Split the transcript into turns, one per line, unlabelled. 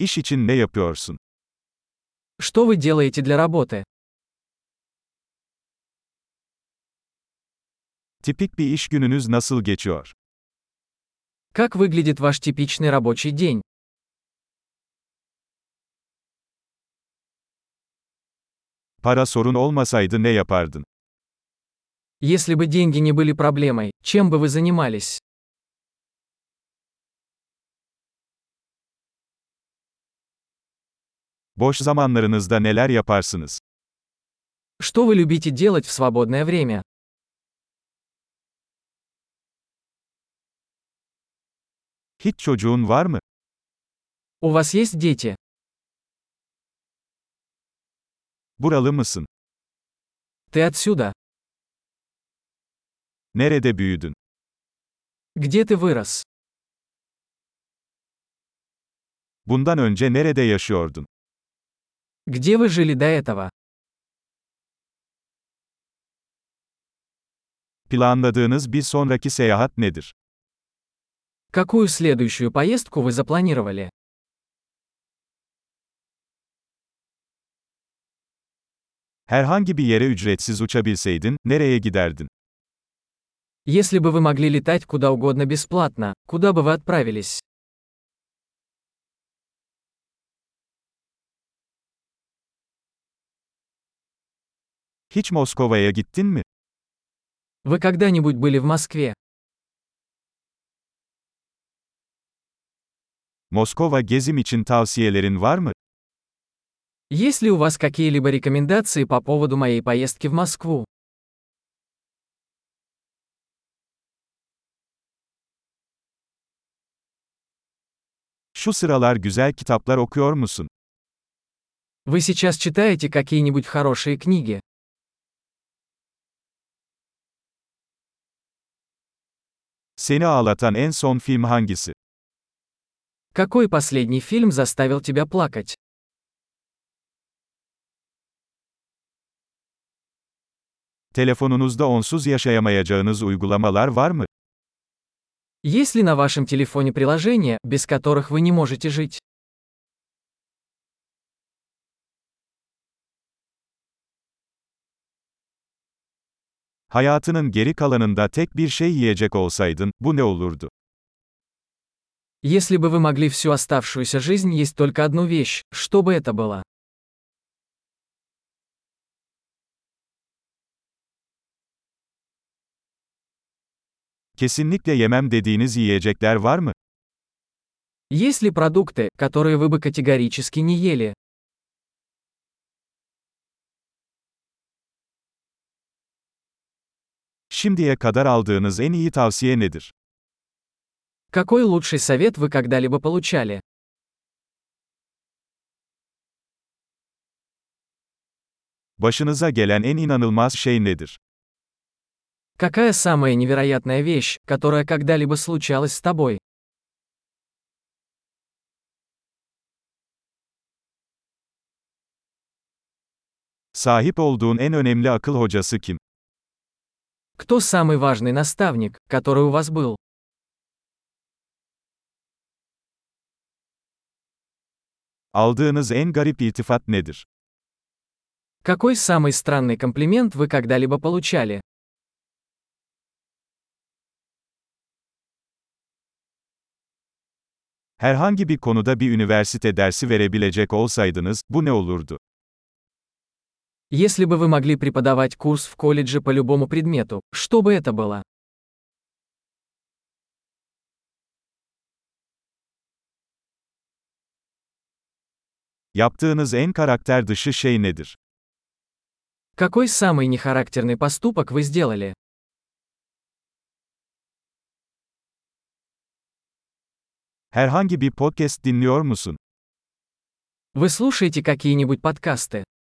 İş için ne yapıyorsun?
Что вы делаете для работы?
Tipik bir iş gününüz nasıl geçiyor?
Как выглядит ваш типичный рабочий день?
Para sorun olmasaydı ne yapardın?
Если бы деньги не были проблемой, чем бы вы занимались?
Boş zamanlarınızda neler yaparsınız?
Что вы любите делать в свободное время?
Hiç çocuğun var mı?
У вас есть дети?
Buralı mısın?
Ты отсюда?
Nerede büyüdün?
Где ты вырос?
Bundan önce nerede yaşıyordun?
Где вы жили до этого?
Planladığınız bir sonraki seyahat nedir?
Какую следующую поездку вы запланировали?
Herhangi bir yere ücretsiz uçabilseydin, nereye giderdin?
Если бы вы могли летать куда угодно бесплатно, куда бы вы отправились?
Hiç Moskova'ya gittin mi?
Вы когда-нибудь были в Москве?
Moskova gezim için tavsiyelerin var mı?
Есть ли у вас какие-либо рекомендации по поводу моей поездки в Москву?
Şu sıralar güzel kitaplar okuyor musun?
Вы сейчас читаете какие-нибудь хорошие книги?
Seni ağlatan en son film hangisi?
Какой последний фильм заставил тебя плакать?
Telefonunuzda onsuz yaşayamayacağınız uygulamalar var mı?
Есть ли на вашем телефоне приложения, без которых вы не можете жить?
Hayatının geri kalanında tek bir şey yiyecek olsaydın, bu ne olurdu?
Если бы вы могли всю оставшуюся жизнь есть только одну вещь, что бы это было?
Kesinlikle yemem dediğiniz yiyecekler var mı?
Есть ли продукты, которые вы бы категорически не ели?
Şimdiye kadar aldığınız en iyi tavsiye nedir?
Какой лучший совет вы когда-либо получали?
Başınıza gelen en inanılmaz şey nedir?
Какая самая невероятная вещь, которая когда-либо случалась с тобой?
Sahip olduğun en önemli akıl hocası kim?
Кто самый важный наставник, который у вас был?
Aldığınız en garip iltifat nedir?
Какой самый странный комплимент вы когда-либо получали?
Herhangi bir konuda bir üniversite dersi verebilecek olsaydınız, bu ne olurdu?
Если бы вы могли преподавать курс в колледже по любому предмету, что бы это было?
Yaptığınız en karakter dışı şey nedir?
Какой самый нехарактерный поступок вы сделали?
Herhangi bir podcast dinliyor musun?
Вы слушаете какие-нибудь подкасты?